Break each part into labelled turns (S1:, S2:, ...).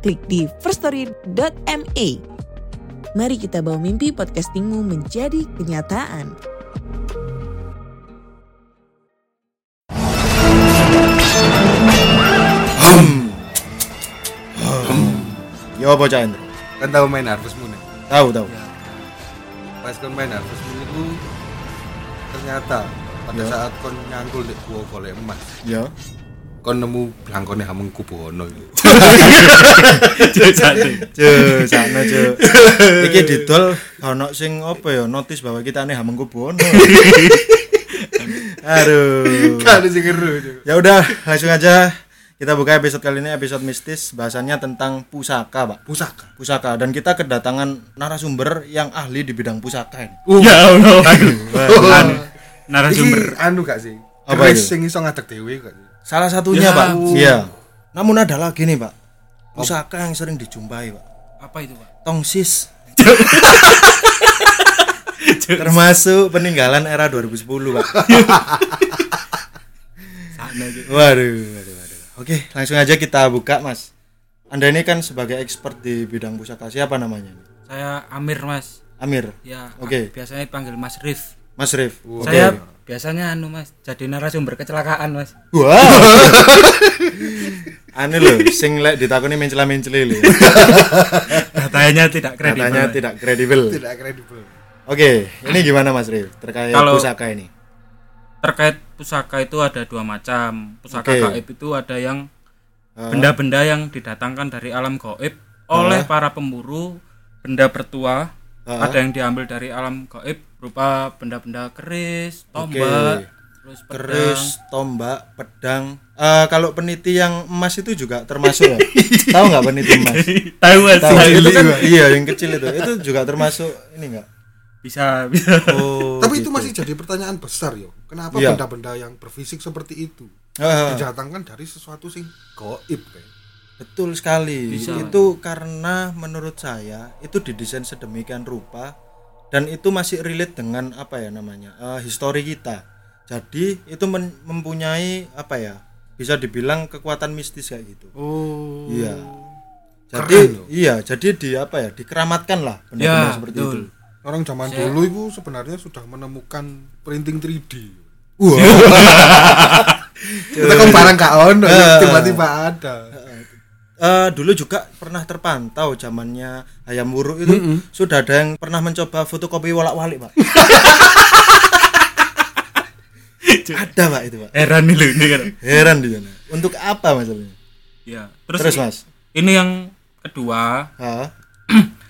S1: klik di firststory.me. Mari kita bawa mimpi podcastingmu menjadi kenyataan.
S2: Ya apa Cak Hendro?
S3: kan tahu main Harvest Moon ya?
S2: Tahu tahu.
S3: pas kon main Harvest Moon itu ternyata pada
S2: Ya.
S3: saat kon nyangkul di gua golek emas
S2: Ya.
S3: kon nemu blangkone Hamengkubuwono itu
S2: Je sana je. Iki didol ono sing apa ya notis bahwa kita aneh Hamengkubuwono. Aduh.
S3: kan sing ngeru
S2: Ya udah langsung aja kita buka episode kali ini episode mistis bahasannya tentang pusaka pak
S3: pusaka
S2: pusaka dan kita kedatangan narasumber yang ahli di bidang pusaka ini
S4: Ya Allah. Anu,
S3: Iki
S4: narasumber.
S3: anu gak sih
S2: Apa
S3: keris
S2: itu?
S3: sing iso ngadeg dhewe gak sih
S2: salah satunya
S4: Ya
S2: pak
S4: ampun.
S2: iya namun ada lagi nih pak pusaka yang sering dijumpai pak
S4: Apa itu, Pak?
S2: tongsis termasuk peninggalan era 2010 pak
S4: Sana gitu.
S2: waduh, waduh, waduh. oke langsung aja kita buka mas anda ini kan sebagai expert di bidang pusaka siapa namanya
S4: Saya Amir, Mas.
S2: Amir
S4: Ya,
S2: Oke.
S4: biasanya dipanggil Mas Rif.
S2: Mas Rif oke
S4: Saya biasanya anu, Mas, jadi narasumber kecelakaan, Mas.
S2: wow aneh loh sing lek ditakoni mencela menceli lho
S4: Datanya tidak kredibel.
S2: katanya
S4: Mas.
S2: tidak kredibel
S3: tidak kredibel
S2: oke ini gimana Mas Rif terkait
S4: Kalau-
S2: pusaka ini
S4: Terkait pusaka itu ada dua macam.
S2: Oke.
S4: Pusaka
S2: Eh.
S4: gaib itu ada yang benda-benda yang didatangkan dari alam gaib oleh para pemburu benda bertua.
S2: Ah.
S4: Ada yang diambil dari alam gaib berupa benda-benda keris, tombak, terus pedang.
S2: keris tombak pedang Eh, kalau peniti yang emas itu juga termasuk ya tahu nggak peniti emas
S4: Tahu, Mas.
S2: tahu
S4: tahu.
S2: itu kan iya yang kecil itu itu juga termasuk ini enggak
S4: Bisa, bisa.
S2: oh
S3: tapi itu masih jadi pertanyaan besar yo kenapa
S2: Iya.
S3: benda-benda yang berfisik seperti itu
S2: Ah,
S3: didatangkan dari sesuatu sing goib kayak
S2: betul sekali
S4: Bisa.
S2: itu karena menurut saya itu didesain sedemikian rupa dan itu masih relate dengan apa ya namanya eh, histori kita jadi itu men- mempunyai apa ya bisa dibilang kekuatan mistis kayak gitu
S3: oh
S2: Iya.
S3: Keren
S2: Jadi
S3: loh. Iya,
S2: iya, jadi di apa ya? Dikeramatkan lah benda-benda
S4: Ya,
S2: seperti
S4: betul.
S2: itu.
S3: orang zaman dulu itu sebenarnya sudah menemukan printing 3D
S2: Wah.
S3: kita kan barang gak ono
S2: Ah.
S3: tiba-tiba ada
S2: Eh, dulu juga pernah terpantau zamannya ayam wuruk itu sudah ada yang pernah mencoba fotokopi walak-walik, Pak. ada, Pak itu, Pak.
S4: Heran nih lu ini kan.
S2: Heran di sana. Untuk apa masalahnya?
S4: Ya, terus,
S2: Terus,
S4: i-
S2: Mas.
S4: ini yang kedua,
S2: Ha?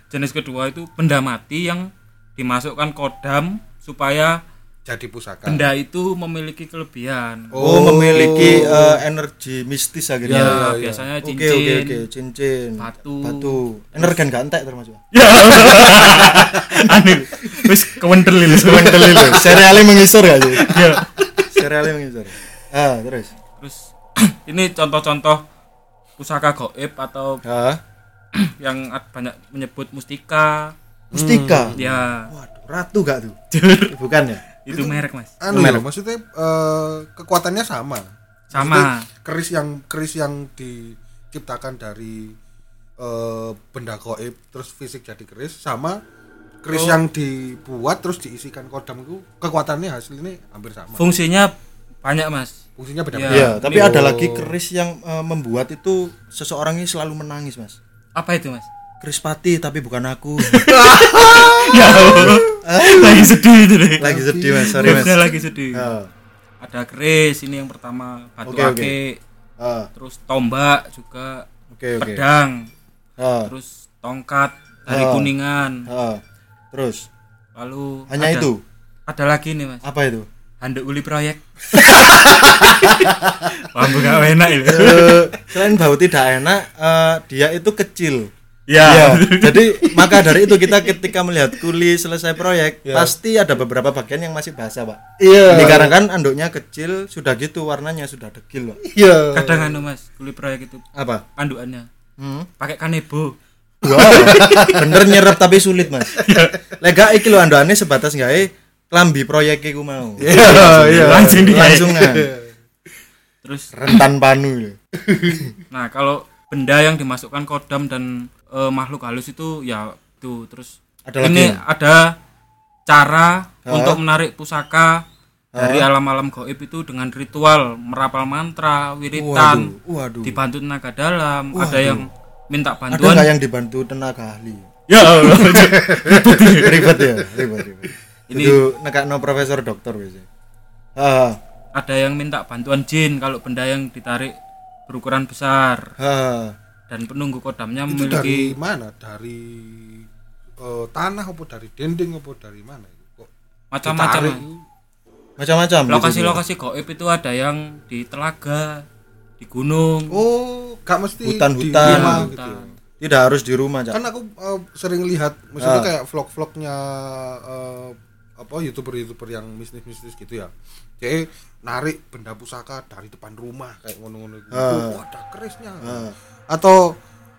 S4: jenis kedua itu benda mati yang dimasukkan kodam supaya
S3: jadi pusaka
S4: benda itu memiliki kelebihan.
S2: Ah. Oh, memiliki eh, energi mistis akhirnya.
S4: ya, biasanya
S2: iya. Oke,
S4: cincin.
S2: oke, oke, cincin.
S4: Batu.
S2: Batu. Energen gak entek termasuk.
S4: Ya. Anu, wis kewendel ini.
S2: Kewendel lho. Serialnya mengisor gak sih?
S4: Ya.
S2: Serialnya mengisor. Ah, terus.
S4: Terus ini contoh-contoh pusaka goib atau
S2: Ah.
S4: yang ad- banyak menyebut mustika.
S2: Mustika.
S4: Ya,
S2: Waduh, ratu gak tuh? Bukan ya?
S4: itu merek, Mas.
S3: anu ya, maksudnya eh, kekuatannya sama
S4: Sama.
S3: Maksudnya keris yang keris yang diciptakan dari eh, benda goib terus fisik jadi keris sama
S4: Oh.
S3: keris yang dibuat terus diisikan kodam itu kekuatannya hasilnya hampir sama
S4: Fungsinya banyak, Mas.
S3: fungsinya
S4: Ya.
S3: beda-beda
S2: Iya, tapi
S4: Oh.
S2: ada lagi keris yang eh, membuat itu seseorang ini selalu menangis, Mas.
S4: Apa itu, Mas?
S2: Keris pati tapi bukan aku.
S4: ya Allah. lagi sedih itu deh
S2: lagi sedih, Mas. Sorry, Mas.
S4: Bener lagi sedih
S2: Ah,
S4: ada keris ini yang pertama batu
S2: Oke, oke.
S4: ake
S2: ah,
S4: terus tombak juga
S2: Oke, oke.
S4: pedang
S2: ah,
S4: terus tongkat dari
S2: Ah.
S4: kuningan
S2: ah. Terus
S4: lalu
S2: hanya
S4: ada-
S2: itu. Ah.
S4: ada lagi nih mas
S2: Apa itu?
S4: handuk uli proyek paham gak enak itu
S2: Eh, selain bau tidak enak eh, dia itu kecil Iya.
S4: ya
S2: jadi maka dari itu kita ketika melihat kuli selesai proyek pasti ada beberapa bagian yang masih basah pak
S3: Iya.
S2: ini karena kan anduknya kecil sudah gitu warnanya sudah degil pak
S3: Iya.
S4: kadang anu mas uli proyek itu
S2: apa
S4: panduannya
S2: Hmm.
S4: pakai kanebo
S2: bener nyerap tapi sulit mas
S4: Iya.
S2: lega iki lo andoane sebatas nggak eh klambi proyek iku mau
S3: Iya.
S4: Oh, langsung di Iya.
S2: langsungan
S4: terus
S2: rentan panu
S4: nah kalau benda yang dimasukkan kodam dan eh, makhluk halus itu ya itu terus
S2: Ada lagi
S4: ini
S2: ya?
S4: ada cara untuk menarik pusaka dari alam-alam goib itu dengan ritual merapal mantra
S2: waduh
S4: wiritan
S2: waduh
S4: dibantu tenaga dalam ada yang minta
S2: ada nggak ya?
S4: bantuan
S2: yang dibantu tenaga ahli
S4: ya Allah.
S2: ribet ya ribet ribet
S4: Ini-
S2: itu nekakno profesor dokter biasanya ah
S4: ada yang minta bantuan jin kalau benda yang ditarik berukuran besar
S2: ah
S4: dan penunggu kodamnya
S3: Itu
S4: memiliki
S3: dari mana? Dari eh, tanah apa dari dinding apa dari mana? Kok
S4: macam-macam
S3: ditarik?
S2: macam-macam gitu.
S4: lokasi-lokasi goib itu ada yang di telaga di gunung
S3: Oh, gak mesti
S2: Hutan-hutan.
S3: di rumah
S4: hutan.
S3: gitu. ya.
S2: tidak harus di rumah Cak.
S3: Kan aku eh, sering lihat
S2: Ah.
S3: maksudnya kayak vlog-vlognya eh, apa YouTuber-YouTuber yang mistis-mistis gitu ya. Jadi narik benda pusaka dari depan rumah kayak ngono-ngono gitu.
S2: Ah.
S3: Wah, ada kerisnya.
S2: Ah.
S3: Atau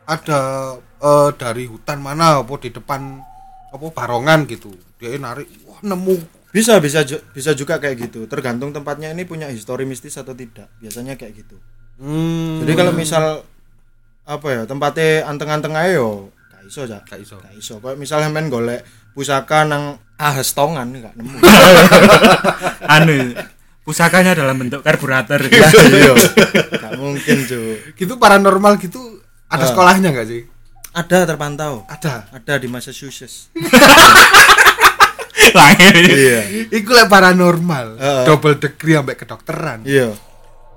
S3: ada eh, dari hutan mana apa di depan apa barongan gitu. Dia narik, wah nemu
S2: bisa bisa ju- bisa juga kayak gitu tergantung tempatnya ini punya histori mistis atau tidak biasanya kayak gitu
S3: Hmm.
S2: Jadi kalau misal apa ya tempatnya anteng-anteng aja yo, gak iso ya.
S3: Gak iso.
S2: Gak iso. Kayak misalnya men golek pusaka nang ahes tongan gak nemu.
S4: anu pusakanya dalam bentuk karburator
S2: Iya. gak mungkin, Cuk.
S3: gitu paranormal gitu
S2: Ah.
S3: ada sekolahnya nggak sih?
S2: Ada terpantau.
S3: Ada.
S2: Ada di Massachusetts.
S4: Lahir.
S2: Iya.
S3: Iku lek paranormal,
S2: Heeh.
S3: double degree sampai kedokteran.
S2: Iya.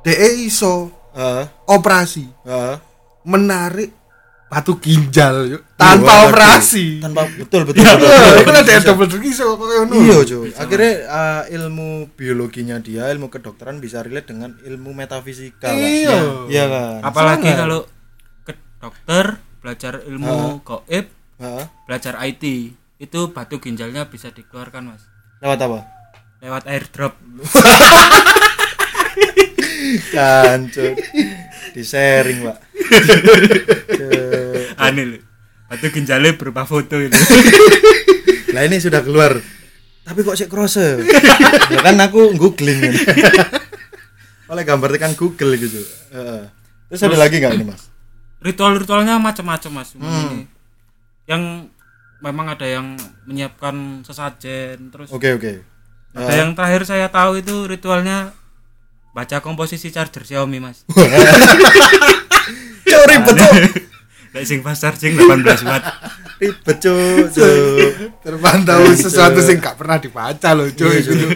S3: DE iso
S2: Heeh.
S3: operasi
S2: Heeh.
S3: menarik batu ginjal yuk,
S2: Iya,
S3: tanpa
S2: Waduh. Iya,
S3: operasi. Iya,
S2: Tanpa betul betul. betul,
S3: Heeh, Iku
S2: betul.
S3: lek DE double degree iso koyo ngono.
S2: Iya, Cuk. Akhirnya eh, ilmu biologinya dia, ilmu kedokteran bisa relate dengan ilmu metafisika. Pak.
S3: Iya.
S2: Iya kan?
S4: apalagi kalau ke dokter belajar ilmu goib
S2: Heeh.
S4: belajar IT itu batu ginjalnya bisa dikeluarkan mas
S2: Lewat apa?
S4: lewat airdrop
S2: kan cuk di sharing pak
S4: anu lho. batu ginjalnya berupa foto itu
S2: lah ini sudah keluar tapi kok sih krose ya kan aku googling ini oleh gambar tekan Google gitu Heeh. terus ada lagi nggak ini mas
S4: ritual-ritualnya macam-macam mas ini yang memang ada yang menyiapkan sesajen terus
S2: oke oke Nah,
S4: ada yang terakhir saya tahu itu ritualnya baca komposisi charger Xiaomi mas
S2: cuk ribet cuk
S4: Lek sing fast charging 18 watt
S2: ribet cuk cuk
S3: Terpantau sesuatu sing gak pernah dibaca loh, cuy.
S2: Iya, Cuk.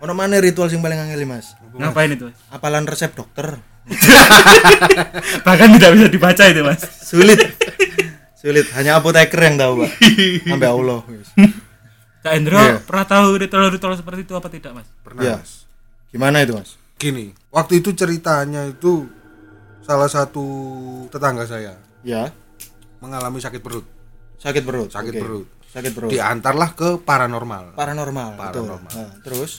S2: ono mana ritual sing paling angel mas
S4: ngapain itu mas
S2: apalan resep dokter
S4: bahkan tidak bisa dibaca itu mas
S2: sulit sulit hanya apoteker yang tahu pak sampai Allah wis.
S4: Cak Endro
S2: Iya.
S4: pernah tahu ritual-ritual seperti itu apa tidak mas
S3: Pernah.
S2: Iya.
S3: Mas.
S2: gimana itu mas
S3: Gini, waktu itu ceritanya itu salah satu tetangga saya
S2: ya
S3: mengalami sakit perut.
S2: sakit perut
S3: Sakit
S2: oke.
S3: perut.
S2: sakit perut
S3: Diantarlah ke paranormal.
S2: paranormal,
S3: Paranormal.
S2: betul. Nah, terus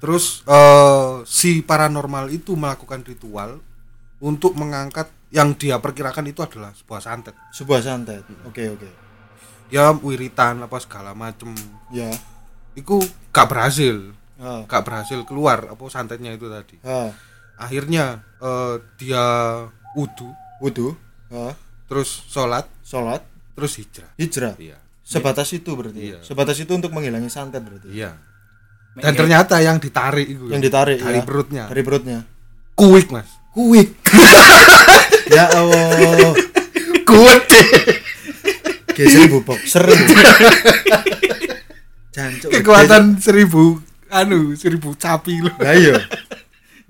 S3: Terus eh, si paranormal itu melakukan ritual untuk mengangkat yang dia perkirakan itu adalah sebuah santet.
S2: sebuah santet oke oke
S3: Ya wiritan apa segala macem.
S2: ya
S3: Itu gak berhasil,
S2: Ah,
S3: gak berhasil keluar apa santetnya itu tadi.
S2: ah.
S3: Akhirnya eh, dia wudhu,
S2: wudhu ah.
S3: terus sholat,
S2: sholat
S3: terus hijrah.
S2: hijrah
S3: Iya.
S2: sebatas itu berarti
S3: Iya.
S2: sebatas itu untuk menghilangi santet berarti
S3: Iya. Dan
S4: Iya.
S3: ternyata yang ditarik itu
S2: yang ditarik
S3: dari
S2: ya.
S3: perutnya,
S2: dari perutnya
S3: kuik mas,
S2: kuik ya allah
S3: kuik.
S2: geser ibu boxer jancuk
S3: Kekuatan seribu, anu seribu capi loh.
S2: lah iya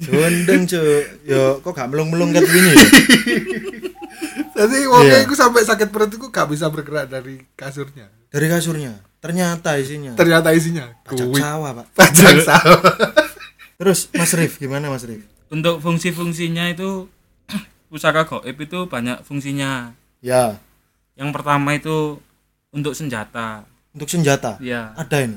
S2: Jondeng cuk, yo kok gak melung-melung ya? kat ini.
S3: Jadi wongnya
S2: Iya.
S3: iku sampai sakit perut iku gak bisa bergerak dari kasurnya.
S2: Dari kasurnya, ternyata isinya
S3: Ternyata isinya
S2: pajak
S3: kuwi.
S2: sawah, Pak.
S3: Pajak sawah.
S2: Terus Mas Rif gimana Mas Rif?
S4: Untuk fungsi-fungsinya itu pusaka goib itu banyak fungsinya.
S2: Ya,
S4: Yang pertama itu untuk senjata.
S2: untuk senjata.
S4: Ya.
S2: Ada ini.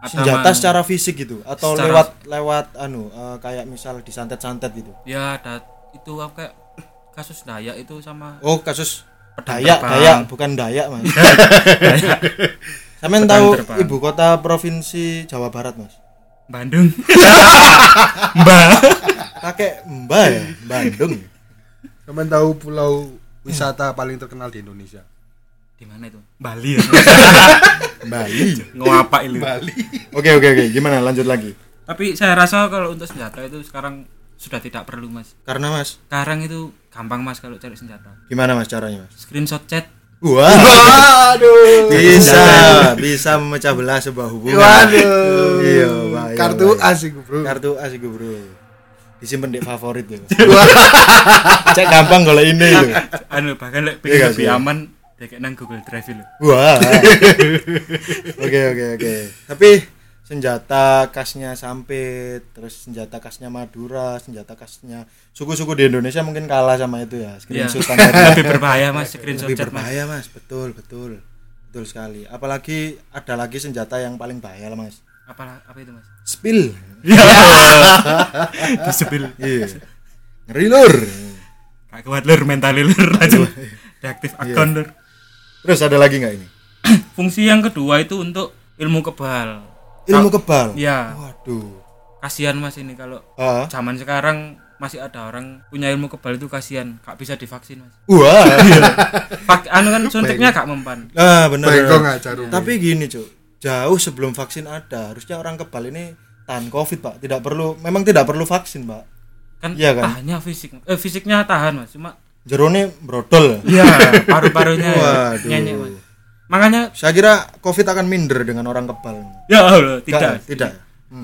S4: Ada,
S2: Senjata
S4: Mas.
S2: secara fisik gitu atau
S4: Secara-
S2: lewat lewat anu eh, kayak misal disantet-santet gitu.
S4: Ya ada itu apa kayak kasus dayak itu sama
S2: Oh, kasus
S4: Pedang
S2: Dayak,
S4: terbang.
S2: Dayak bukan Dayak, Mas. Sampean
S4: Pedang
S2: tahu
S4: terbang.
S2: ibu kota provinsi Jawa Barat, Mas?
S4: Bandung. Mbak.
S2: Kakek Mbak ya, Bandung.
S3: Kalian tahu pulau wisata paling terkenal di Indonesia?
S4: Di mana itu? Bali ya.
S2: Bali.
S4: Ngapa itu?
S2: Oke, oke, oke. Gimana lanjut lagi?
S4: Tapi saya rasa kalau untuk senjata itu sekarang sudah tidak perlu mas.
S2: Karena Mas,
S4: Sekarang itu gampang mas kalau cari senjata.
S2: gimana Mas caranya, Mas?
S4: Screenshot chat.
S2: Wah,
S3: Waduh.
S2: bisa bisa memecah belah sebuah hubungan.
S3: Waduh.
S2: Iya, bahaya,
S3: Kartu
S2: bahaya.
S3: asik, Bro.
S2: Kartu as iku, Bro. Disimpan di favorit ya. Mas. Cek gampang kalau ini. itu.
S4: Anu bahkan lek
S2: Iya,
S4: pengen lebih
S2: iya.
S4: aman dia kayak nang Google Drive lho.
S2: Wah. Oke oke oke. Tapi senjata khasnya Sampit, terus senjata khasnya Madura, senjata khasnya suku-suku di Indonesia mungkin kalah sama itu ya.
S4: Iya.
S2: Screenshot standar
S4: Lebih berbahaya mas screenshot
S2: lebih
S4: chat mas.
S2: berbahaya mas. Betul betul betul sekali. Apalagi ada lagi senjata yang paling bahaya lah, mas.
S4: Apa apa itu mas?
S2: Spill.
S4: Ya. Disebel.
S2: Iya. Ngeri lur.
S4: Gak kuat lur mental lur
S2: Iya.
S4: langsung deaktif akun lur.
S2: Terus ada lagi nggak ini?
S4: Fungsi yang kedua itu untuk ilmu kebal.
S2: Ilmu kebal.
S4: Ya,
S2: Iya. Waduh.
S4: kasihan mas ini kalau
S2: Ah.
S4: zaman sekarang masih ada orang punya ilmu kebal itu kasihan, gak bisa divaksin mas.
S2: Wah.
S3: Iya.
S4: Pak, anu kan suntiknya gak mempan.
S2: Ah benar.
S3: Bengkong aja rumah.
S2: Tapi gini cuk, jauh sebelum vaksin ada, harusnya orang kebal ini tahan covid pak. Tidak perlu, memang tidak perlu vaksin pak.
S4: Kan,
S2: Iya kan?
S4: tahannya fisik. Eh fisiknya tahan mas, cuma
S2: Jerone brodol.
S4: ya paru-parunya ya,
S2: Waduh.
S4: nyanyi mas. Makanya
S2: Saya kira covid akan minder dengan orang kebal.
S4: ya Allah,
S2: Nggak,
S4: tidak. Hmm.
S2: tidak.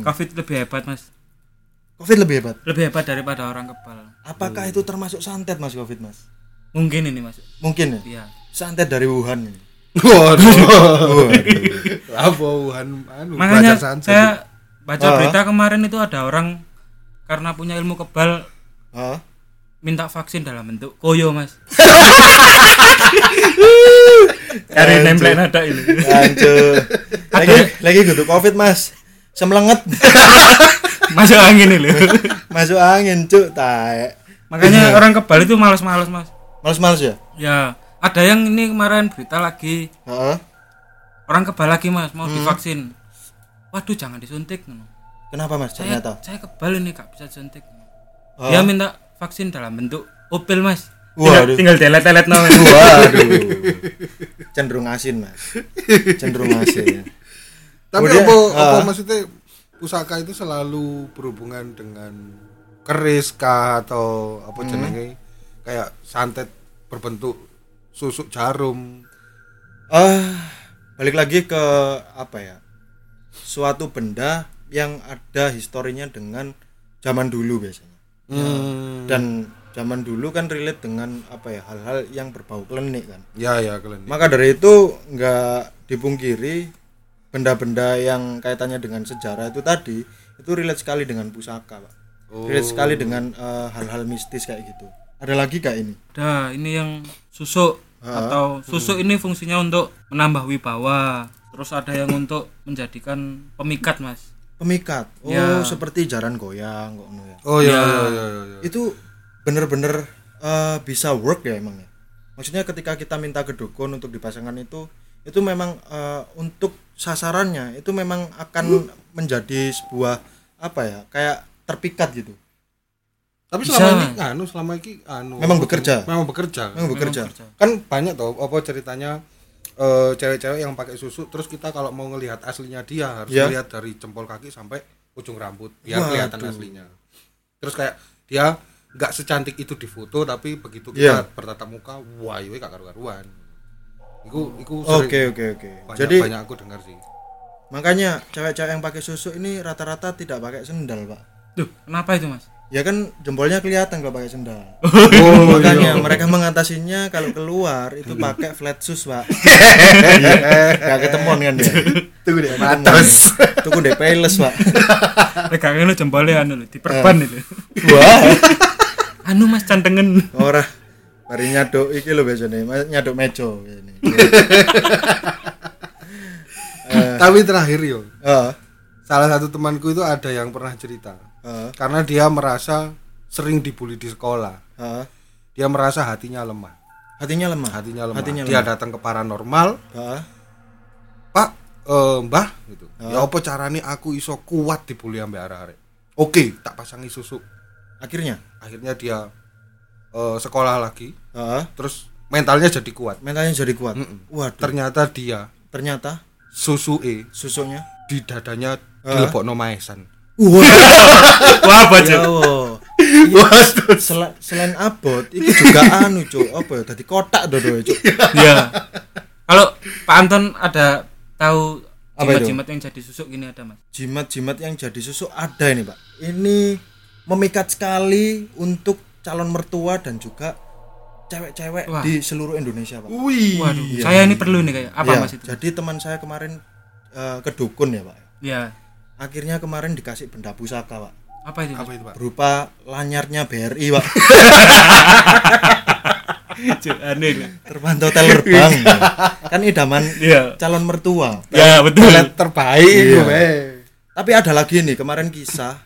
S4: Covid lebih hebat mas,
S2: Covid lebih hebat.
S4: lebih hebat daripada orang kebal.
S2: Apakah itu termasuk santet mas covid mas?
S4: Mungkin ini mas.
S2: Mungkin ya.
S4: Iya.
S2: Santet dari Wuhan. ini.
S3: Waduh. Apa Wuhan anu
S4: Makanya
S3: belajar santet.
S4: saya baca berita kemarin itu ada orang karena punya ilmu kebal
S2: Hah?
S4: minta vaksin dalam bentuk koyo mas.
S2: Anjir.
S4: Cari template ada ini.
S2: Hancur. lagi lagi gitu covid mas. Semlenget.
S4: Masuk angin ini loh.
S2: Masuk angin cuk. Taek.
S4: Makanya orang kebal itu malas-malas mas.
S2: Males-males ya.
S4: Ya, ada yang ini kemarin berita lagi
S2: Heeh.
S4: orang kebal lagi mas mau divaksin. Waduh jangan disuntik.
S2: Kenapa mas?
S4: Saya,
S2: Ternyata.
S4: saya kebal ini gak bisa disuntik.
S2: Oh.
S4: Dia minta vaksin dalam bentuk opil mas.
S2: Waduh.
S4: Tinggal, tinggal telet-telet no.
S2: Waduh. Cenderung asin, Mas. Cenderung asin. ya.
S3: Tapi
S2: Kemudian,
S3: apa, apa
S2: ah.
S3: maksudnya pusaka itu selalu berhubungan dengan keris kah atau apa
S2: Hmm.
S3: jenenge kayak santet berbentuk susuk jarum.
S2: Ah, balik lagi ke apa ya? Suatu benda yang ada historinya dengan zaman dulu biasanya. Dan zaman dulu kan relate dengan apa ya? Hal-hal yang berbau klenik kan.
S3: Ya ya kalian.
S2: Maka dari itu nggak dipungkiri benda-benda yang kaitannya dengan sejarah itu tadi itu relate sekali dengan pusaka, Pak. Relate sekali dengan eh, hal-hal mistis kayak gitu. Ada lagi kak ini?
S4: Nah, ini yang susuk atau susuk ini fungsinya untuk menambah wibawa. Terus ada yang untuk menjadikan pemikat, Mas.
S2: Pemikat. Oh, seperti jaran goyang kok ngono ya.
S3: Oh ya ya ya. ya, ya.
S2: Itu bener-bener eh, bisa work ya emangnya. Maksudnya ketika kita minta ke dukun untuk dipasangkan itu itu memang eh, untuk sasarannya itu memang akan menjadi sebuah apa ya? Kayak terpikat gitu.
S3: Tapi selama
S4: Bisa.
S3: ini anu selama ini anu
S2: Memang bekerja.
S3: Memang bekerja.
S2: Memang bekerja.
S3: Kan banyak toh apa ceritanya eh, cewek-cewek yang pakai susuk terus kita kalau mau ngelihat aslinya dia harus
S2: Ya.
S3: ngelihat dari jempol kaki sampai ujung rambut biar kelihatan aslinya. Terus kayak dia nggak secantik itu di foto tapi begitu
S2: Ya.
S3: kita bertatap muka wah itu gak karu-karuan. Iku iku sering
S2: Oke, oke, oke.
S3: banyak,
S2: Jadi
S3: banyak aku dengar sih.
S2: makanya cewek-cewek yang pakai susu ini rata-rata tidak pakai sendal, Pak.
S4: Duh, kenapa itu, Mas?
S2: ya kan jempolnya kelihatan kalau pakai sendal
S3: Oh,
S2: makanya mereka mengatasinya kalau keluar itu pakai flat shoes pak gak ketemuan kan dia
S3: Tunggu deh, matos.
S2: tuku deh peles pak
S4: Regangnya lo jempolnya anu lho, diperban itu.
S2: wah
S4: Anu Mas cantengen.
S2: ora mari nyaduk iki lho biasanya ma- nyaduk mejo biasanya
S3: Tapi terakhir yo,
S2: Heeh,
S3: salah satu temanku itu ada yang pernah cerita
S2: heeh,
S3: karena dia merasa sering dibully di sekolah.
S2: heeh.
S3: Dia merasa hatinya lemah.
S2: ah. hatinya lemah Ah.
S3: Hatinya lemah.
S2: Hatinya
S3: dia
S2: lemah.
S3: datang ke paranormal,
S2: Heeh.
S3: Pak, eh, Mbah gitu. Ya apa carane aku iso kuat dibully ambek arek-arek. Oke, tak pasangi susu.
S2: akhirnya
S3: Akhirnya dia eh, sekolah lagi,
S2: heeh.
S3: terus mentalnya jadi kuat.
S2: Ah. mentalnya jadi kuat waduh
S3: Ternyata dia
S2: ternyata
S3: susu E
S2: susunya
S3: di dadanya dilebokno maesan.
S4: Wah,
S2: ya
S4: baca.
S2: Allah. Iya. Sel- selain abot itu juga anu cuk apa ya tadi kotak dodo cuk
S4: Ya. Kalau Pak Anton ada tahu
S2: Apa itu?
S4: jimat-jimat yang jadi susuk gini ada, Mas?
S2: jimat-jimat yang jadi susu ada ini pak ini memikat sekali untuk calon mertua dan juga cewek-cewek
S4: Wah.
S2: di seluruh Indonesia pak
S3: Wih.
S4: Waduh, saya ini perlu nih kayak apa
S2: Iya,
S4: Mas itu?
S2: jadi teman saya kemarin eh, ke dukun ya pak
S4: Ya.
S2: akhirnya kemarin dikasih benda pusaka pak
S4: Apa itu? Mas?
S3: Apa itu, Pak?
S2: berupa lanyarnya BRI pak
S4: Cuk, aneh lho.
S2: terpantau teller bank Pak. kan idaman
S4: Iya.
S2: calon mertua
S4: Ya, betul.
S3: Pelet terbaik eh. gue.
S2: Tapi ada lagi nih kemarin kisah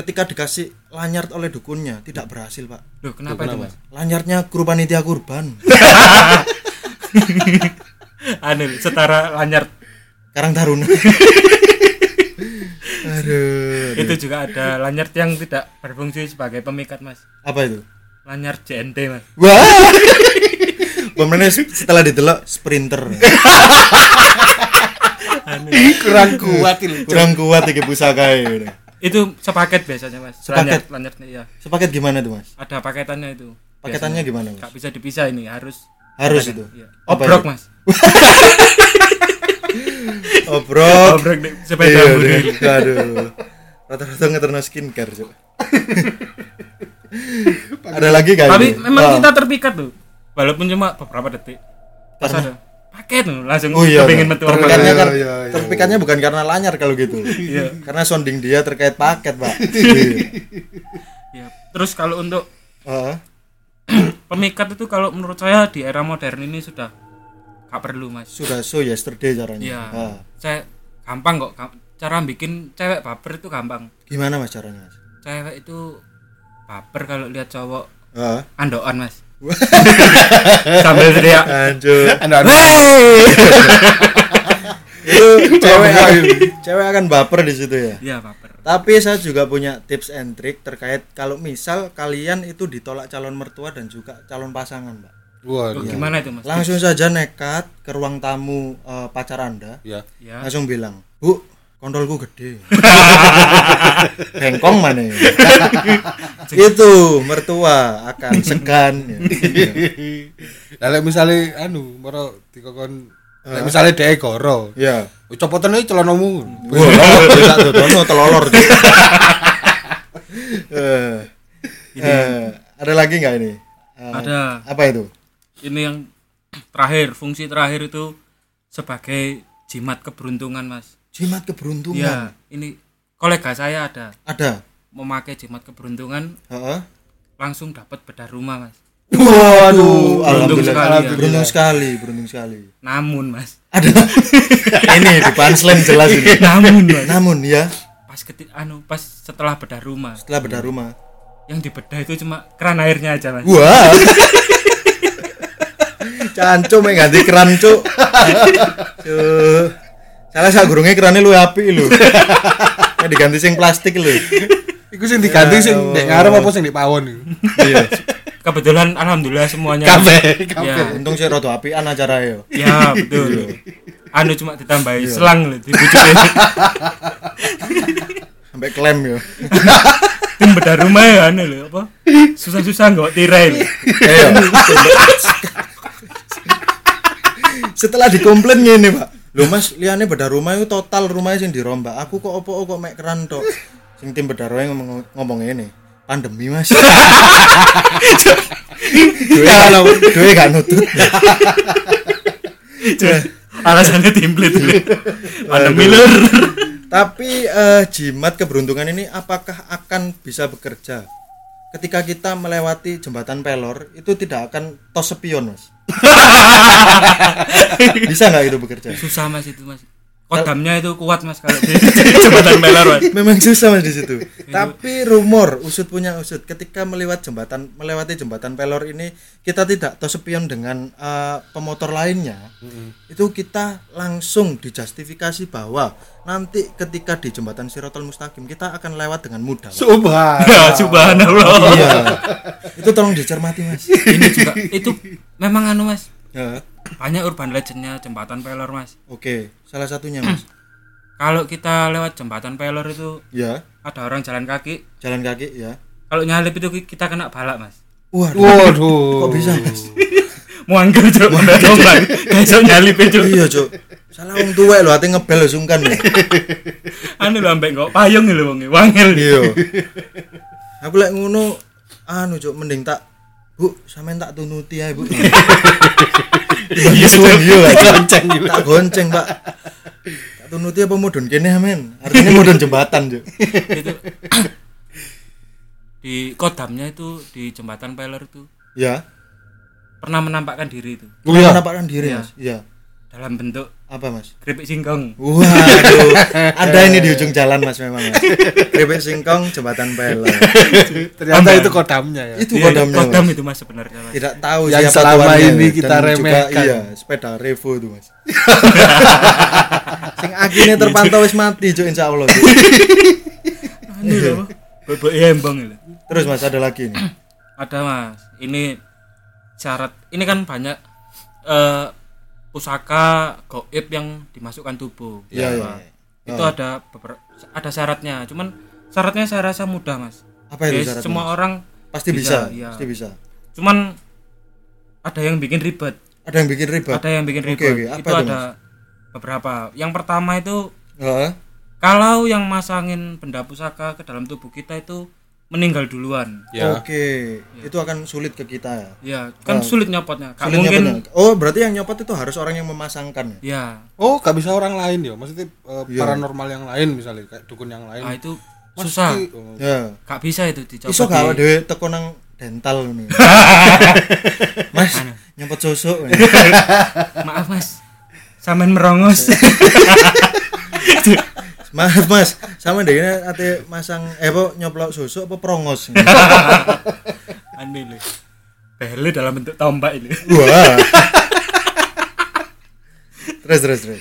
S2: ketika dikasih lanyard oleh dukunnya tidak berhasil pak.
S4: Loh, kenapa itu, Mas?
S2: Lanyardnya guru panitia kurban
S4: Aneh lho, setara lanyar
S2: Karang Taruna. Aduh.
S4: itu juga ada lanyard yang tidak berfungsi sebagai pemikat mas
S2: Apa itu?
S4: lanyard JNT mas
S2: Wah. Pemenangnya setelah didelok sprinter.
S3: Kurang kuat itu.
S2: Kurang kuat iki pusaka e. ini.
S4: itu sepaket biasanya mas
S2: Sepaket?
S4: lanyard lanyardnya ya
S2: Sepaket gimana tuh mas?
S4: ada paketannya itu
S2: Paketannya gimana mas?
S4: nggak bisa dipisah ini harus
S2: Harus itu.
S4: ya.
S2: Apa
S4: obrok
S2: itu?
S4: mas
S2: Obrok.
S4: obrok di sepeda
S2: Iya,
S4: murni
S2: deh. Aduh. Rata-rata ngeterno skincare Cuk. Ada lagi gak?
S4: tapi
S2: ini?
S4: memang
S2: Ah.
S4: kita terpikat tuh walaupun cuma beberapa detik pas ada paket tuh langsung
S2: Oh iya.
S4: kepingin
S2: Pak.
S4: metu orang
S2: Terpikatnya
S3: Iya,
S2: kan
S3: iya, iya.
S2: terpikatnya bukan karena lanyar kalau gitu. Karena sounding dia terkait paket, Pak. Iya.
S4: Ya. terus kalau untuk
S2: Heeh.
S4: pemikat itu kalau menurut saya di era modern ini sudah nggak perlu mas
S2: Sudah so yesterday caranya.
S4: Iya.
S2: Ah.
S4: Saya gampang kok Gam- cara bikin cewek baper itu gampang.
S2: Gimana Mas caranya, Mas?
S4: Cewek itu baper kalau lihat cowok
S2: Heeh.
S4: andoan, Mas. Sambil teriak,
S2: Anjur.
S4: "Hei!"
S2: Itu cewek akan, cewek akan baper di situ ya.
S4: Iya, baper.
S2: Tapi saya juga punya tips and trick terkait kalau misal kalian itu ditolak calon mertua dan juga calon pasangan, Pak. Iya.
S4: Loh,
S3: Waduh.
S4: gimana itu, Mas?
S2: Langsung saja nekat ke ruang tamu eh, pacar Anda.
S3: Ya.
S4: Ya.
S2: langsung bilang bu kondolku gede bengkong mana ya? itu mertua akan segan ya.
S3: Lah lek misale anu moro dikokon lek misale dhek goro.
S2: ya
S4: Iya.
S3: Copotane celanamu.
S2: wah lama Oh, bisa dodono telolor Eh, eh, ada lagi nggak ini Eh,
S4: Ada.
S2: apa itu
S4: Ini yang terakhir, fungsi terakhir itu sebagai jimat keberuntungan, Mas.
S2: jimat keberuntungan
S4: Iya, ini kolega saya ada
S2: ada
S4: memakai jimat keberuntungan
S2: Heeh.
S4: langsung dapat bedah rumah, Mas.
S2: Waduh,
S4: beruntung
S2: alhamdulillah,
S4: sekali,
S2: alhamdulillah.
S4: ya.
S2: beruntung sekali, beruntung sekali.
S4: Namun, Mas.
S2: Ada ini di punchline jelas ini.
S4: Namun, Mas.
S2: Namun ya,
S4: pas ketik anu pas setelah bedah rumah
S2: setelah bedah rumah,
S4: yang dibedah itu cuma keran airnya aja mas
S2: Wah. Cancu mek ganti keran cuk. Cuk. Salah sak gurunge kerane luwih apik lho. Mek diganti sing plastik lho.
S3: Iku sing diganti sing ndek ngarep apa sing ndek pawon iku.
S2: Iya.
S4: kebetulan alhamdulillah semuanya
S3: Kabeh.
S4: ya
S2: Untung sih rada apian acarae yo.
S4: ya betul anu cuma ditambahi selang loh dibujukin
S2: Sampai klaim yo.
S4: tim bedah rumah ya anu loh apa susah susah nggak tirai loh.
S2: Ayo. Setelah dikomplain ngene, Pak. Lho Mas, liyane bedah rumah itu total rumahnya sing dirombak. Aku kok opo kok mek keran tok. Sing tim bedah rumah ngomong ngomong ngene. pandemi mas duwe gak nut- duwe gak nutut
S4: alasannya template lur. pandemi lur
S2: tapi eh, jimat keberuntungan ini apakah akan bisa bekerja ketika kita melewati jembatan pelor itu tidak akan tos sepion mas bisa nggak itu bekerja
S4: susah mas itu mas kodamnya itu kuat mas kalau di jembatan melar mas
S2: memang susah mas di situ tapi rumor usut punya usut ketika melewat jembatan melewati jembatan pelor ini kita tidak tersepion dengan eh, pemotor lainnya itu kita langsung dijustifikasi bahwa nanti ketika di jembatan sirotol mustaqim kita akan lewat dengan mudah Mas.
S3: Subhan.
S4: Ya, subhanallah
S2: Iya. itu tolong dicermati mas
S4: ini juga itu memang anu mas
S2: Ya.
S4: banyak urban legendnya jembatan pelor mas
S2: oke salah satunya mas
S4: kalau kita lewat jembatan pelor itu
S2: ya
S4: ada orang jalan kaki
S2: jalan kaki ya
S4: kalau nyalip itu ki- kita kena balak mas
S2: waduh
S3: Waduh.
S2: kok bisa mas
S4: muangkel cok udah jombang besok nyalip itu
S2: iya cok salah orang tua lo hati ngebel lo sungkan lo
S4: anu lho ambek kok payung lho wong e, wangel
S2: iya aku lek ngono anu cuk mending tak bu sampean tak tunuti ae bu iya
S4: Cuk.
S2: tak gonceng tak gonceng pak tak tunuti apa mudun kene amen artinya mudun jembatan cuk
S4: itu di kodamnya itu di jembatan pelor itu
S2: ya
S4: pernah menampakkan diri itu
S3: Oh
S2: lu menampakkan diri
S4: Iya.
S2: mas iya
S4: dalam bentuk
S2: apa mas
S4: keripik singkong
S2: Waduh, ada ini di ujung jalan mas memang mas. Keripik singkong, jembatan pelor.
S3: Ternyata itu kodamnya ya.
S2: Itu
S4: Iya,
S2: kodamnya
S4: kodam
S2: mas.
S4: itu mas sebenarnya mas
S2: Tidak tahu
S3: Yang
S2: siapa
S3: selama
S2: tuannya,
S3: ini
S2: dan
S3: kita
S2: juga,
S3: remehkan.
S2: Iya, sepeda revo itu mas. Sing akhirnya terpantau wis mati cuk insya Allah. Cuk.
S4: anu lho
S2: iya.
S4: bebek embong lho
S2: Terus mas ada lagi nih.
S4: ada mas ini syarat ini kan banyak eh, pusaka goib yang dimasukkan tubuh Nah,
S2: Iya iya.
S4: Mas. itu ada beber- ada syaratnya cuman syaratnya saya rasa mudah mas
S2: Apa itu
S4: Jadi
S2: syaratnya?
S4: Iya, semua orang
S2: Pasti bisa,
S4: iya.
S2: pasti bisa.
S4: cuman ada yang bikin ribet
S2: Ada yang bikin ribet.
S4: ada yang bikin
S2: Oke,
S4: ribet
S2: oke. Apa
S4: itu,
S2: itu,
S4: ada beberapa yang pertama itu
S2: Heeh.
S4: kalau yang masangin benda pusaka ke dalam tubuh kita itu meninggal duluan
S3: Iya. Oh.
S2: Oke,
S4: Iya.
S2: itu akan sulit ke kita ya.
S4: ya kan sulit nyopotnya Gak
S2: Sulit
S4: mungkin
S2: nyopotnya. Oh, berarti yang nyopot itu harus orang yang memasangkan. ya?
S4: ya
S3: Oh, gak bisa orang lain ya. Maksudnya eh, paranormal yang lain misalnya kayak dukun yang
S4: nah,
S3: lain. Oh.
S4: itu susah
S2: Ya.
S4: gak bisa itu dicoba
S2: Iso
S4: di-
S2: gak dhewe teko nang dental ngono. Mas, nyopot susuk. ngono.
S4: maaf mas sampean merongos
S2: Maaf Mas, sama deh ini ate masang eh apa nyoplok susuk apa prongos.
S4: aneh lho bele dalam bentuk tombak ini
S2: Wah. terus terus terus.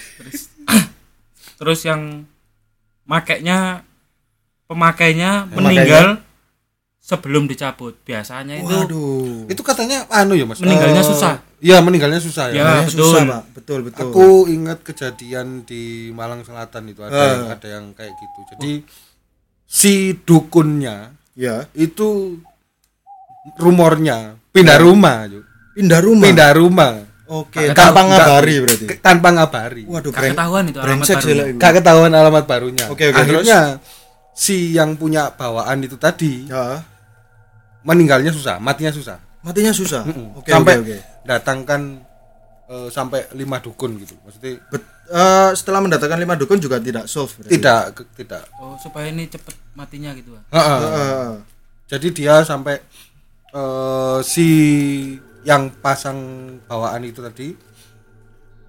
S4: terus yang makainya pemakainya meninggal sebelum dicabut biasanya itu
S2: Waduh.
S3: Itu katanya anu ya, Mas. Eh,
S4: meninggalnya susah
S3: Iya, meninggalnya susah ya.
S4: Ya.
S2: Kayaknya susah,
S4: betul.
S2: Pak. Betul, betul.
S3: Aku ingat kejadian di Malang Selatan itu ada yang, ada yang kayak gitu. Jadi si dukunnya
S2: ya,
S3: itu rumornya pindah rumah, Cuk.
S2: pindah rumah.
S3: pindah rumah.
S2: Oke,
S3: Nggak-
S2: tanpa
S3: nggak-
S2: ngabari berarti.
S3: Tanpa ngabari.
S2: Waduh,
S4: gak ketahuan itu alamat
S2: brengsek sih
S4: baru
S2: lah itu.
S3: Gak ketahuan alamat barunya.
S2: Oke, oke,
S3: Akhirnya si yang punya bawaan itu tadi
S2: Ya.
S3: meninggalnya susah, matinya susah.
S2: Matinya susah. Oke, oke,
S3: sampai
S2: oke.
S3: datangkan eh, sampai lima dukun gitu. Maksudnya
S2: Bet- eh, setelah mendatangkan lima dukun juga tidak solve berarti.
S3: tidak ke- tidak.
S4: oh supaya ini cepet matinya gitu ah.
S2: Eh,
S3: Ha-ha.
S2: Heeh.
S3: Jadi dia sampai eh, si yang pasang bawaan itu tadi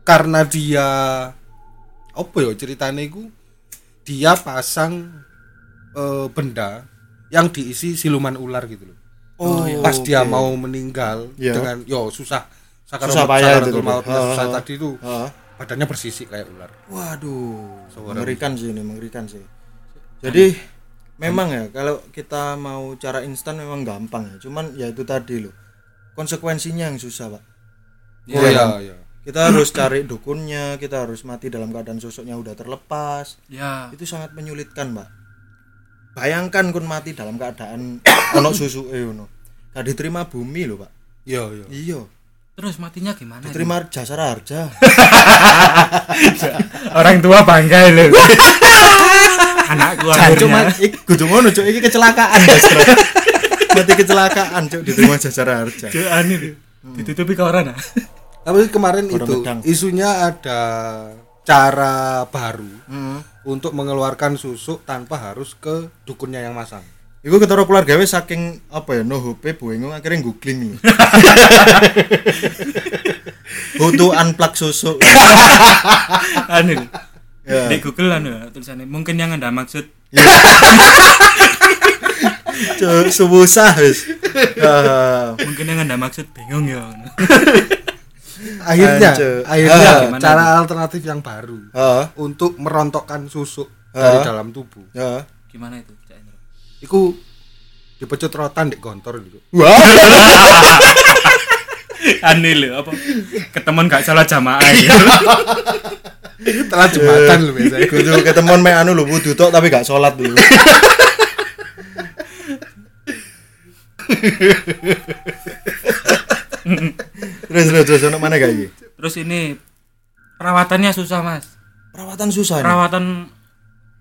S3: karena dia apa ya ceritanya itu dia pasang eh, benda yang diisi siluman ular gitu loh.
S2: Oh,
S3: pas dia mau meninggal
S2: Iya.
S3: dengan yo susah sakaratul
S2: Susah payah itu
S3: sakaratul
S2: tuh.
S3: mautnya
S2: Ha,
S3: susah
S2: ha.
S3: tadi itu
S2: Heeh.
S3: badannya bersisik kayak ular.
S2: Waduh, mengerikan sih ini, mengerikan sih. Jadi memang ya kalau kita mau cara instan memang gampang ya. Cuman ya itu tadi loh. Konsekuensinya yang susah, Pak.
S3: Iya iya. iya.
S2: Kita harus cari dukunnya, kita harus mati dalam keadaan sosoknya udah terlepas.
S4: ya
S2: Itu sangat menyulitkan, Pak. Bayangkan kun mati dalam keadaan ono susu ono. Gak diterima bumi loh, Pak.
S3: Iya iya.
S2: Iya,
S4: terus matinya gimana
S2: terima jasa harja.
S4: orang tua bangga lho anak gua
S2: Cuma iki kudu ngono, Cuk. Iki kecelakaan, Mas. mati kecelakaan cuk di rumah jajar harja
S4: Cuk, anu itu.
S2: Hmm.
S4: Ditutupi ke orang ah.
S3: Tapi kemarin
S2: Orang
S3: itu
S2: Medang.
S3: isunya ada cara baru
S2: Hmm.
S3: untuk mengeluarkan susuk tanpa harus ke dukunnya yang masang.
S2: Iku ketara keluarga wis saking apa ya no HP buengung akhirnya googling lho. How to unplug susu.
S4: Anu. itu.
S2: Ya.
S4: Di Google anu ya, tulisannya mungkin yang Anda maksud
S2: Cuk, susah wis. Ah,
S4: mungkin yang Anda maksud bingung ya.
S3: Akhirnya,
S2: Anjir.
S3: akhirnya
S2: Ah.
S3: gimana cara alternatif yang baru
S2: ah,
S3: untuk merontokkan susuk dari dalam tubuh.
S2: ah.
S4: Gimana itu, Cak Endro?
S3: Iku dipecut rotan di gontor gitu.
S2: Wah,
S4: Anu lho, apa? Ketemuan gak salah jamaah ya.
S3: Telah jembatan lu biasanya.
S2: iku tuh ketemuan mek anu lho wudu tok tapi gak sholat dulu. terus terus terus ono mana gak iki?
S4: Terus ini perawatannya susah, Mas.
S2: Perawatan susah nih.
S4: Perawatan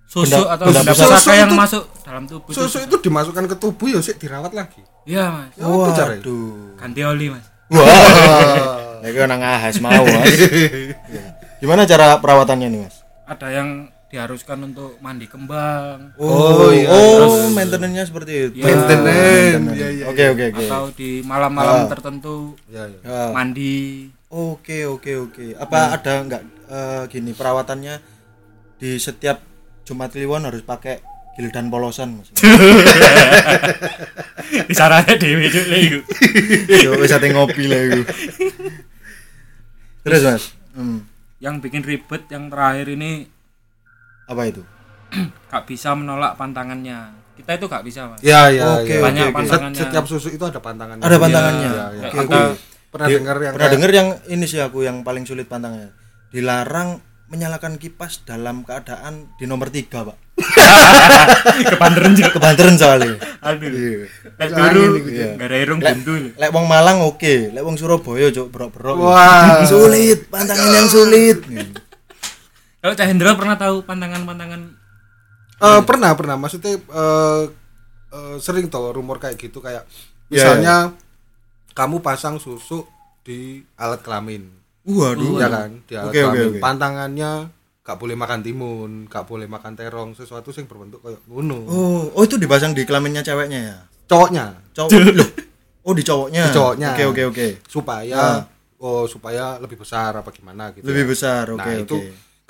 S4: susuk
S2: Benda-
S4: atau
S2: benda
S4: benda
S3: pusaka.
S4: pusaka yang
S3: Susuk itu-
S4: masuk dalam tubuh. itu
S3: Susuk itu dimasukkan ke tubuh ya sik dirawat lagi.
S4: Iya, Mas.
S3: Ya, apa caranya?
S2: Waduh.
S4: Ganti oli, Mas.
S2: Wah. Lagi orang ahas mau, Mas. Gimana cara perawatannya nih, Mas?
S4: Ada yang diharuskan untuk mandi kembang
S2: Oh, iya. Oh, maintenance seperti itu.
S3: Maintenance. Iya iya.
S2: Oke, oke, oke.
S4: atau di malam-malam tertentu
S3: Iya iya.
S2: Ah,
S4: mandi.
S2: Oke, oke, oke. Apa ada nggak eh, gini perawatannya di setiap Jumat Kliwon harus pakai gildan polosan, Mas.
S4: Bicaranya dewe cuk lek iku.
S2: Yo wis ate ngopi lah iku. Terus, Mas. Hmm.
S4: Yang bikin ribet yang terakhir ini
S2: Apa itu?
S4: gak bisa menolak pantangannya. Kita itu gak bisa, Mas.
S3: Iya iya.
S2: Oke,
S3: iya.
S4: Banyak
S2: oke.
S3: Set-
S4: pantangannya.
S3: Setiap susuk itu ada pantangannya.
S2: Ada pantangannya.
S3: Iya, iya.
S4: Kayak
S2: Oke,
S3: Aku
S2: oke.
S3: pernah dengar yang
S2: pernah
S3: kayak-
S2: dengar yang ini sih aku yang paling sulit pantangannya dilarang menyalakan kipas dalam keadaan di nomor tiga pak
S4: Kepanderen juga.
S2: kebanteran soalnya
S4: Aduh.
S2: Iya.
S4: Lek turu
S2: iya.
S4: gak ada irung
S2: lek,
S4: buntu. lho.
S2: lek wong Malang oke lek wong Surabaya cok berok berok
S3: Wah.
S2: sulit pantangan yang sulit
S4: Kalau Cak Hendra pernah tahu pantangan-pantangan
S3: Eh, pernah pernah maksudnya eh, eh, sering tau rumor kayak
S2: Ya,
S3: gitu kayak misalnya kamu pasang susuk di alat kelamin
S2: waduh
S3: ya kan di
S2: Oh,
S3: alat
S2: iya. Oke, oke,
S3: kelamin
S2: oke.
S3: pantangannya gak boleh makan timun gak boleh makan terong sesuatu yang berbentuk kayak ngono
S2: oh oh itu dipasang di kelaminnya ceweknya ya
S3: cowoknya
S2: cowok Loh. oh di cowoknya
S3: Di cowoknya.
S2: oke oke oke
S3: supaya oh supaya lebih besar apa gimana gitu
S2: Ah. lebih
S3: ya.
S2: besar oke
S3: nah
S2: oke
S3: itu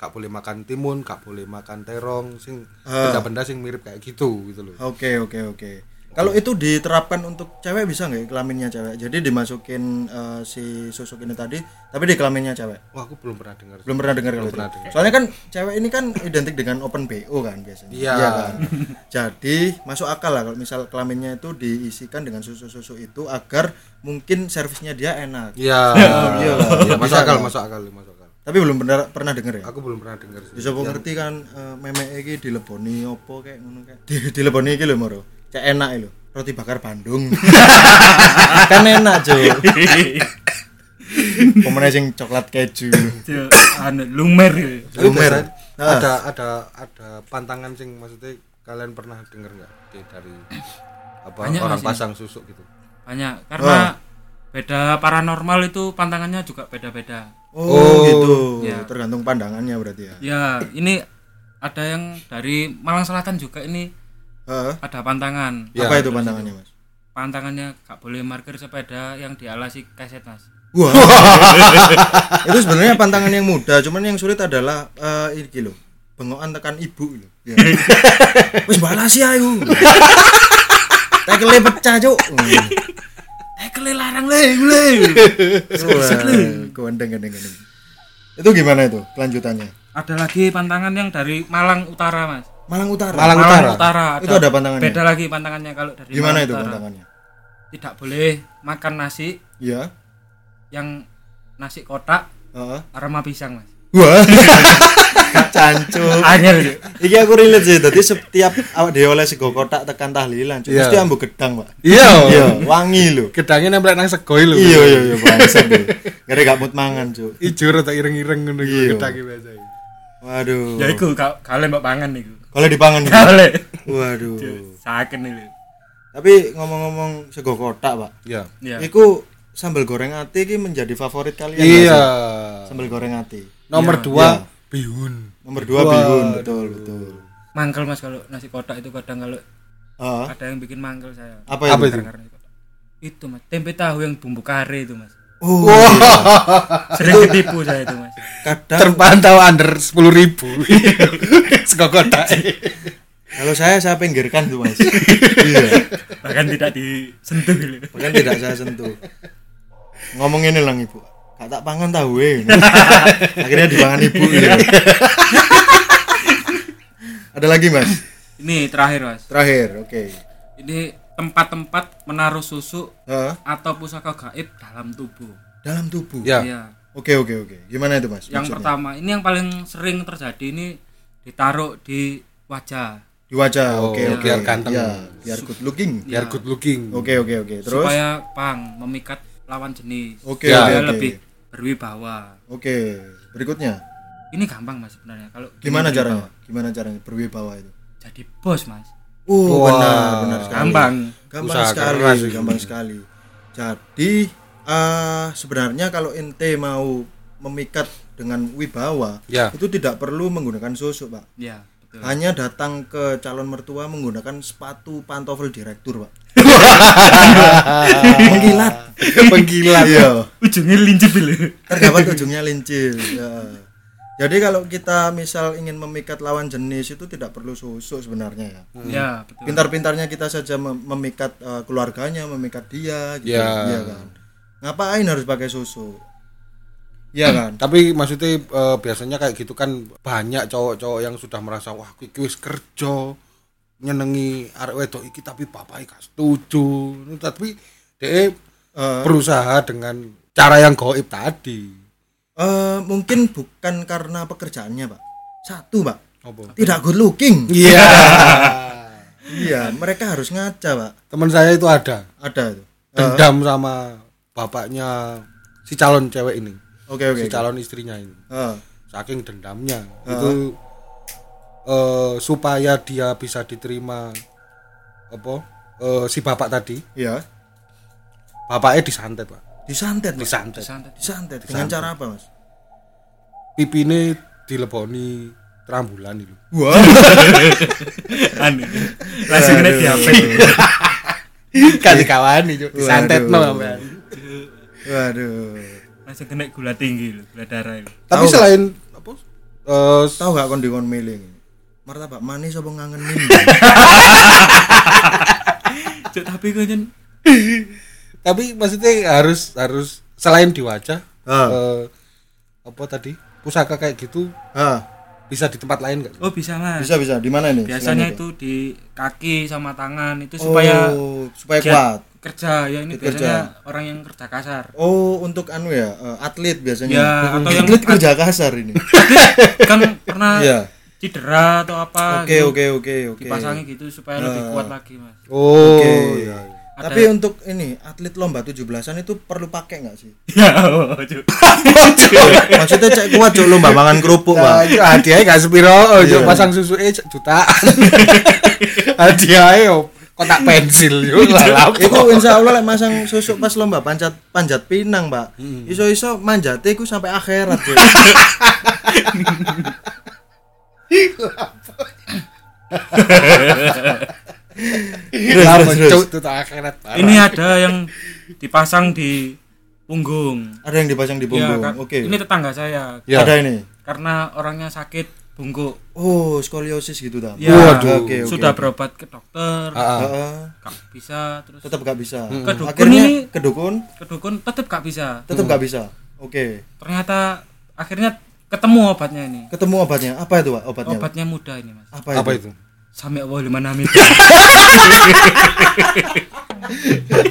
S3: gak boleh makan timun gak boleh makan terong sing
S2: Ah.
S3: benda-benda sing mirip kayak gitu gitu loh
S2: Oke oke oke. Kalau itu diterapkan untuk cewek bisa nggak ya, kelaminnya cewek? Jadi dimasukin eh, si susuk ini tadi, tapi di kelaminnya cewek.
S3: wah aku belum pernah dengar
S2: Belum pernah dengar kalau itu.
S3: pernah dengar.
S2: Soalnya kan cewek ini kan identik dengan open BO kan biasanya.
S3: Iya.
S2: kan. Jadi masuk akal lah kalau misal kelaminnya itu diisikan dengan susu-susu itu agar mungkin servisnya dia enak.
S3: Iya.
S2: iya.
S3: Iya, masuk akal, masuk akal, masuk akal.
S2: Tapi belum pernah pernah denger ya.
S3: Aku belum pernah dengar sih.
S2: Bisa ya. ngerti kan eh, memek iki dileboni opo kayak ngono kayak. Di, dileboni iki lho Moro. Cek enak lho. Roti bakar Bandung. kan enak, Cuk.
S4: Iya.
S2: Pemene sing coklat keju.
S4: Cuk, anu lumer. ya.
S3: Tapi
S2: Lumer.
S3: biasanya
S2: Nah.
S3: Ada ada ada pantangan sing maksudnya kalian pernah dengar nggak Di- dari apa
S4: Banyak
S3: orang
S4: nggak sih?
S3: pasang susuk gitu.
S4: Banyak karena beda paranormal itu pantangannya juga beda-beda.
S2: Oh, gitu.
S4: Iya.
S2: Tergantung pandangannya berarti ya.
S4: Ya, ini ada yang dari Malang Selatan juga ini
S2: Heeh.
S4: ada pantangan.
S2: Apa itu pandangannya, Mas?
S4: Pantangannya gak boleh parkir sepeda yang dialasi keset, Mas.
S2: Wah. itu sebenarnya pantangan yang mudah, cuman yang sulit adalah eh iki lho. Bengokan tekan ibu lho. Ya. Wis balas ya iku. Tekele pecah, Cuk.
S4: Eh, larang le, le.
S2: Gondeng, gondeng, gondeng. Itu gimana itu kelanjutannya?
S4: ada lagi pantangan yang dari Malang Utara, Mas.
S2: Malang Utara.
S3: Malang Utara.
S4: Utara
S2: Itu ada pantangannya?
S4: Beda lagi pantangannya kalau dari
S2: Gimana
S4: Malang
S2: itu
S4: Utara.
S2: tantangannya?
S4: Tidak boleh makan nasi
S2: Iya.
S4: yang nasi kotak
S2: Heeh.
S4: aroma pisang, Mas.
S2: Wah. Cancuk.
S4: Anyar, Cuk.
S2: Iki aku relate sih. Tadi setiap awak dhewe oleh sego kotak tekan tahlilan, cuy.
S3: Iya.
S2: Mesti ambu gedang, Pak.
S3: Iya.
S2: Iya, wangi lho.
S3: Gedangnya nempel nang segoi lho.
S2: Iya, iya, iya, bangsa. Gara gak mut mangan, cuy.
S3: Ijo atau ireng-ireng ngono
S2: Iya.
S3: gitu gedangnya biasanya.
S2: Waduh.
S4: Ya iku ka- kale mbok pangan iku.
S2: Kalau dipangan.
S4: Kale.
S2: Waduh.
S4: Saken iki.
S2: Tapi ngomong-ngomong sego kotak, Pak.
S3: ya
S4: ya
S2: Iku sambal goreng ati iki menjadi favorit kalian. nggak
S3: iya
S2: sih? Sambal goreng ati.
S3: nomor
S4: Iya.
S3: dua
S2: Iya.
S3: bihun
S2: Nomor dua
S3: Waduh.
S2: bihun, betul, betul.
S4: mangkel mas kalau nasi kotak itu kadang kalau
S2: Ah,
S4: ada yang bikin mangkel saya
S2: apa
S3: apa
S2: itu?
S3: itu
S4: karena nasi kotak. itu mas tempe tahu yang bumbu kare itu mas
S2: Oh,
S4: sering ketipu saya itu mas
S2: kadang
S3: terpantau under sepuluh ribu sego kotak
S2: kalau saya saya pinggirkan tuh, Mas. iya.
S4: bahkan tidak disentuh gitu
S2: Bahkan tidak saya sentuh. Ngomong ini lang Ibu. Gak tak pangan tahu eh. Akhirnya dipangan Ibu. iya. Ada lagi, Mas?
S4: ini terakhir mas
S2: Terakhir, oke.
S4: ini tempat-tempat menaruh susu
S2: Heeh.
S4: atau pusaka gaib dalam tubuh
S2: dalam tubuh.
S3: ya
S4: ya
S2: Oke, oke, oke. Gimana itu, Mas?
S4: yang
S2: Maksudnya?
S4: pertama ini yang paling sering terjadi ini ditaruh di wajah
S2: di wajah. Oke,
S3: Oh,
S2: oke.
S3: biar ganteng.
S2: Ya, biar good looking.
S3: biar good looking
S2: Oke, oke, oke. Terus
S4: Iya. supaya pang memikat lawan jenis
S2: Oke,
S4: supaya
S2: oke, oke.
S4: lebih berwibawa
S2: oke, berikutnya.
S4: ini gampang mas sebenarnya kalau
S2: Gimana
S4: ingin
S2: caranya? Gimana caranya berwibawa itu?
S4: berwibawa. jadi bos mas
S2: Oh,
S3: Wah.
S2: benar, benar sekali.
S4: gampang
S2: Gampang
S3: Usaha
S2: sekali,
S3: keras itu.
S2: gampang sekali. Jadi eh sebenarnya kalau ente mau memikat dengan wibawa,
S3: Ya.
S2: itu tidak perlu menggunakan susuk, Pak.
S4: ya betul
S2: Hanya datang ke calon mertua menggunakan sepatu pantofel direktur, Pak. Mengkilat.
S3: penggila
S2: Iya.
S4: ujungnya lincip dulu
S2: terdapat ujungnya lincil ya. jadi kalau kita misal ingin memikat lawan jenis itu tidak perlu susuk sebenarnya ya
S4: ya betul
S2: pintar-pintarnya kita saja mem- memikat eh, keluarganya memikat dia gitu
S3: Ya.
S2: iya kan ngapain harus pakai susuk iya kan
S3: tapi maksudnya eh, biasanya kayak gitu kan banyak cowok-cowok yang sudah merasa wah aku iki wis kerja nyenengi arek wedok iki tapi papai gak setuju Nah, tapi dia
S2: Eh,
S3: berusaha dengan cara yang goib tadi
S2: eh, mungkin bukan karena pekerjaannya pak satu pak
S3: apa
S2: tidak good looking
S3: iya
S2: iya mereka harus ngaca pak
S3: teman saya itu ada
S2: ada itu Eh,
S3: dendam sama bapaknya si calon cewek ini
S2: oke oke
S3: si calon istrinya ini
S2: Eh,
S3: saking dendamnya itu eh, supaya dia bisa diterima apa eh, si bapak tadi
S2: iya
S3: bapaknya disantet pak
S2: disantet Pak.
S3: disantet
S4: santai
S2: disantet dengan cara apa mas
S3: pipine dileboni terambulan itu
S2: wah
S4: aneh langsung kena di HP
S3: kan dikawani Cuk. disantet no
S2: Waduh.
S3: Pak.
S2: Waduh.
S4: langsung kena gula tinggi lho, gula darah lho.
S3: tapi selain apa eh, s-
S2: Tahu gak kon dikon milih? Martabak manis apa ngangen min?
S4: Cuk, tapi kau kan
S3: tapi maksudnya harus harus selain di wajah
S2: Ah.
S3: eh, apa tadi pusaka kayak gitu
S2: ah,
S3: bisa di tempat lain nggak
S4: oh bisa mas
S2: bisa bisa. Di mana ini?
S4: biasanya
S2: Selain
S4: itu di kaki sama tangan itu supaya
S2: Oh, supaya kuat.
S4: giat kerja ya ini
S2: Kerja.
S4: biasanya orang yang kerja kasar
S2: Oh, untuk anu ya, eh, atlet biasanya.
S4: Ya, atau yang-
S2: atlet kerja kasar ini.
S4: kan pernah
S2: Iya.
S4: cedera atau apa
S2: Oke,
S4: gitu,
S2: oke, oke, oke.
S4: dipasangi gitu supaya lebih kuat lagi mas
S3: oh
S2: Oke.
S3: iya.
S2: Tapi untuk ini atlet lomba 17-an itu perlu pakai nggak sih?
S4: ya oh, Cuk.
S2: Maksudnya cek kuat cok lomba mangan kerupuk,
S3: Nah,
S2: Pak.
S3: itu hadiahnya gak sepiro,
S2: Iya.
S3: ojo pasang susu eh jutaan. hadiahnya yo kotak pensil yo lah
S2: Iku
S3: lapo.
S2: insya Allah lek masang susuk pas lomba panjat panjat pinang, Pak.
S4: Hmm.
S2: Iso-iso manjate iku sampai akhirat. Cok.
S3: Lapo,
S2: terus,
S3: Cuk, tuh tak akhirat. parah.
S4: ini ada yang dipasang di punggung
S2: Ada yang dipasang di
S4: Ya,
S2: punggung.
S4: kan.
S2: Oke.
S4: ini tetangga saya
S3: Ya.
S2: Ada ini.
S4: karena orangnya sakit bungkuk
S2: Oh, skoliosis gitu dah.
S4: ya
S3: Waduh.
S2: Oke, oke.
S4: sudah berobat ke dokter
S3: Ah, ah.
S2: Heeh.
S4: gak bisa terus
S2: tetap gak bisa.
S4: Ke dukun
S2: Akhirnya
S4: ini-
S2: ke dukun
S4: ke dukun tetap gak bisa
S2: tetap gak bisa. Oke.
S4: ternyata akhirnya ketemu obatnya ini
S2: Ketemu obatnya. Apa itu, Pak? Obatnya. Pak?
S4: obatnya mudah ini mas
S2: Apa,
S3: Apa
S2: itu?
S3: itu?
S4: sampai Allah liman amin